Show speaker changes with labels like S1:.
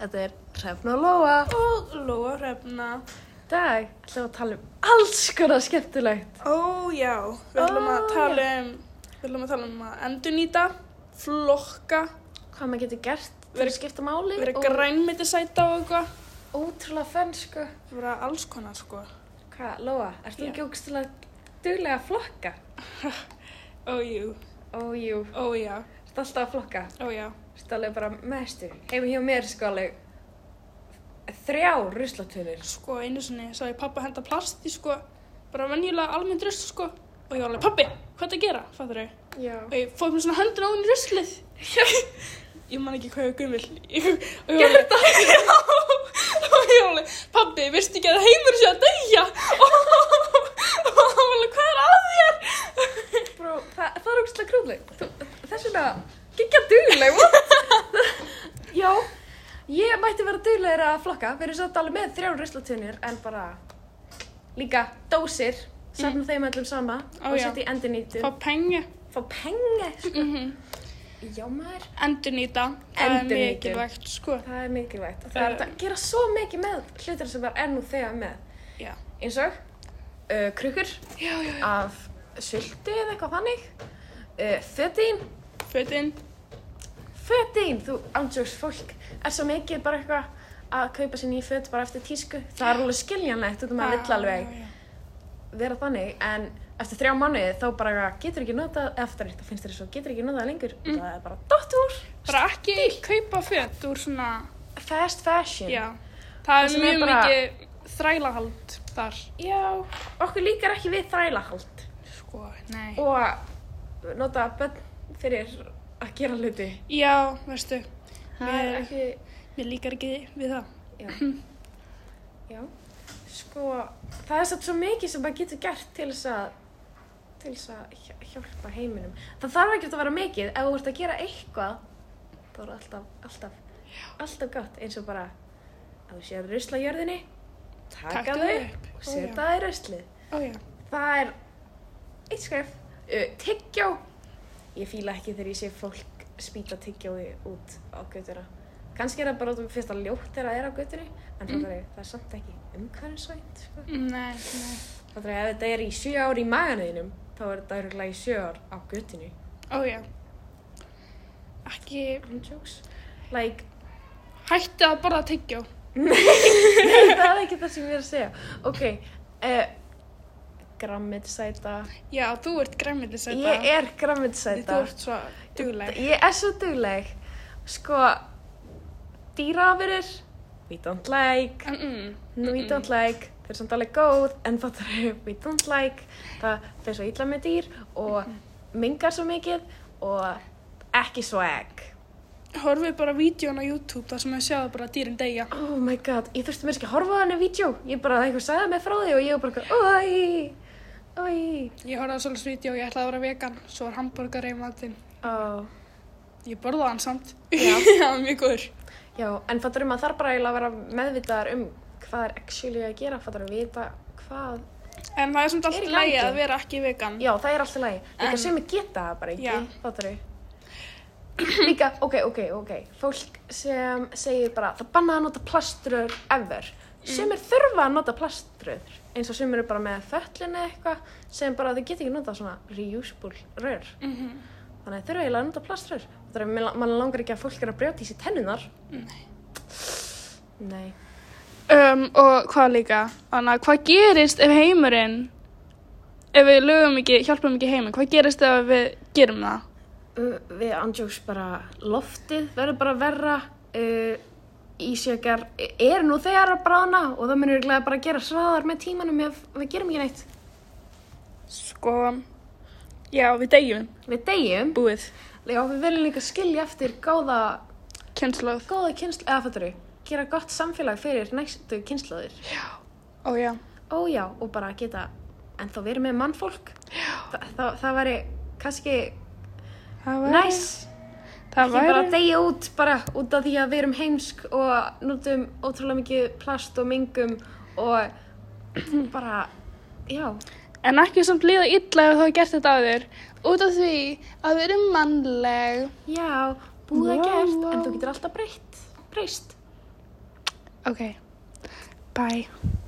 S1: Þetta er Hrefna og Lóa.
S2: Og Lóa Hrefna.
S1: Í dag ætlum við að tala um alls konar skemmtilegt.
S2: Ó já, við ætlum
S1: Ó,
S2: að tala um, við ætlum að tala um að endurnýta, flokka,
S1: Hvað maður getur gert til að
S2: Verið-
S1: skipta máli.
S2: vera
S1: og
S2: grænmetisæta og eitthvað.
S1: Ótrúlega fenn, sko.
S2: Vera alls konar sko.
S1: Hvað, Lóa, ert þú
S2: Já.
S1: ekki ógst til að duglega að flokka?
S2: Ó jú,
S1: Ó, jú.
S2: ó já,
S1: Ert alltaf að flokka.
S2: ó já.
S1: Ert alveg bara mestu. Heimi hjá mér, sko, alveg þrjár ruslatunir.
S2: Sko einu sinni sá ég pappa henda plast í sko, bara venjulega almennt rusl sko. Og ég var alveg, pappi, hvað er að gera? Fattur þau?
S1: Já.
S2: Og ég fóð mér svona hendur á hún í ruslið. ég man ekki hvað ég var gummil. Og ég var
S1: Gerðu
S2: alveg, já. Og ég var alveg, pabbi, veistu ekki að heimur sé að deyja? Og og hann var alveg, hvað er að þér?
S1: Bró, það, það er ógstlega krúðleg. Þess vegna, gengja dugleg, what? Já, ég mætti vera duglegir að flokka. Við erum svolítið alveg með þrjár ruslatunir, en bara líka dósir. Safna þeim öllum sama
S2: Mhm. Ó,
S1: og
S2: já.
S1: setja í endurnýtu.
S2: Fá Mhm. pengi,
S1: Fá pengi, sko. Já, maður.
S2: endurnýta, það er
S1: Endurnýtum.
S2: mikilvægt, sko.
S1: Það er mikilvægt. Það er hægt að gera svo mikið með hlutir sem er ennú þegar með.
S2: Já,
S1: Eins og uh, krukkur
S2: já, já, já.
S1: af sultu eða eitthvað þannig. Uh, Fötin,
S2: fötin,
S1: fötin, þú ándjóks fólk er svo mikið bara eitthvað að kaupa sér nýja föt bara eftir tísku. Það er alveg skiljanlegt, þú maður vill alveg
S2: Já, já.
S1: vera þannig, en eftir þrjá mánuði þá bara eitthvað, getur ekki notað eftir þetta, finnst þér svo, getur ekki notað lengur, það er bara dott úr,
S2: Bara ekki kaupa föt úr svona,
S1: fast fashion.
S2: já. Það
S1: Það
S2: er
S1: sem er
S2: mjög
S1: bara-
S2: mikið þrælahald þar,
S1: Já, okkur líkar ekki við þrælahald.
S2: sko, nei.
S1: og nota bönn fyrir að gera hluti.
S2: Já, veistu,
S1: Það er
S2: Mér-
S1: ekki,
S2: mér líkar ekki við það.
S1: já. já. Sko, það er satt svo mikið sem maður getur gert til þess að, til þess að hjá- hjálpa heiminum. Það þarf ekki að vera mikið, ef þú ert að gera eitthvað, þá er alltaf, alltaf, alltaf gott, eins og bara, ef þú sér rusla á jörðinni, taka þau
S2: Taktu þau upp.
S1: og
S2: Ó, já.
S1: setja það í ruslið.
S2: Ó já,
S1: Það er eitt skref. Uh, tyggjó. Ég fíla ekki þegar ég sé fólk spýta tyggjói út á götuna. Kannski er það bara út um fyrst að ljótt þegar það er á götunni, en mm. það, er, það er samt ekki umhverfisvænt. Sko.
S2: nei, nei.
S1: Það er ef þetta er í sjö ár í maganuðinum, þá er þetta örgulega í sjö ár á götunni.
S2: Ó já. Ekki,
S1: I'm jokes. Like,
S2: hættu að borða tyggjó.
S1: það er ekki það sem ég er að segja. Ok, uh, grammitsæta.
S2: Já, þú ert græmitisæta.
S1: Ég er
S2: Þú
S1: grammitsæta.
S2: ert svo dugleg.
S1: Ég er svo dugleg. Sko, dýraafurur, we don't like,
S2: Mm -mm.
S1: no, we don't like, þau eru samt alveg góð, en fattar þau, we don't like, það fer svo illa með dýr og mingar svo mikið og ekki swag.
S2: Horfið bara vídjón á YouTube þar sem ég sjáði bara dýrin deyja.
S1: Oh my god, ég þurfti mér ekki að horfa á henni vídeo, ég bara, einhver sagði mig frá því og ég var bara, oi, oi,
S2: Ég horfði á svolítið vídjó og ég ætlaði að vera vegan. Svo var hambúrgar í matinn.
S1: oh.
S2: Ég borðaði hann samt.
S1: Já.
S2: Það var mjög góður.
S1: Já, en fattur um að þarf bara eiginlega að vera meðvitaðar um hvað er actually að gera, fattur að vita hvað
S2: En það er samt
S1: Er í
S2: alltaf lægi
S1: gangi.
S2: að vera ekki vegan.
S1: Já, það er alltaf lægi. Líka
S2: En-
S1: sem ég geta það bara
S2: Já.
S1: ekki, fattar þau? Líka, ok, ok, ok, fólk sem segir bara, það bannaði að nota plaströr ever.
S2: Mm.
S1: Sem er þurfa að nota plaströr, eins og sem eru bara með föllin eða eitthvað, sem bara þau geta ekki nota svona reusable rör.
S2: Mm
S1: Þannig að þau þurfa eiginlega að nota plaströr. Það er að mann langar ekki að fólk er að brjóta í sér tennunar.
S2: Nei.
S1: Nei.
S2: Um, og hvað líka? Þannig að hvað gerist ef heimurinn, ef við lögum ekki, hjálpum ekki heiminn, hvað gerist ef við gerum það?
S1: Uh, Við andjóks bara loftið verður bara verra uh, Ísjökar er nú þegar að bráðna og það munir glæða bara að gera sraðar með tímanum ef við gerum ekki neitt
S2: Sko, já, við deyjum,
S1: Við deyjum
S2: búið,
S1: Já, við viljum líka skilja eftir góða,
S2: kynnslóð.
S1: góða kynslu eða fætturu gera gott samfélag fyrir næstu kynslaður
S2: Ó já,
S1: Ó já, og bara geta en þá verið með mannfólk Þa, það, það væri kannski
S2: það
S1: næs
S2: væri, það
S1: Ég bara
S2: væri,
S1: degja út bara út af því að við erum heimsk og notum ótrúlega mikið plast og mingum og bara, já,
S2: en ekki samt líða illa ef þú hefur gert þetta áður út af því að við erum mannleg
S1: Já, búið að
S2: Wow,
S1: gert,
S2: wow.
S1: en þú getur alltaf breytt, breyst.
S2: ok, bye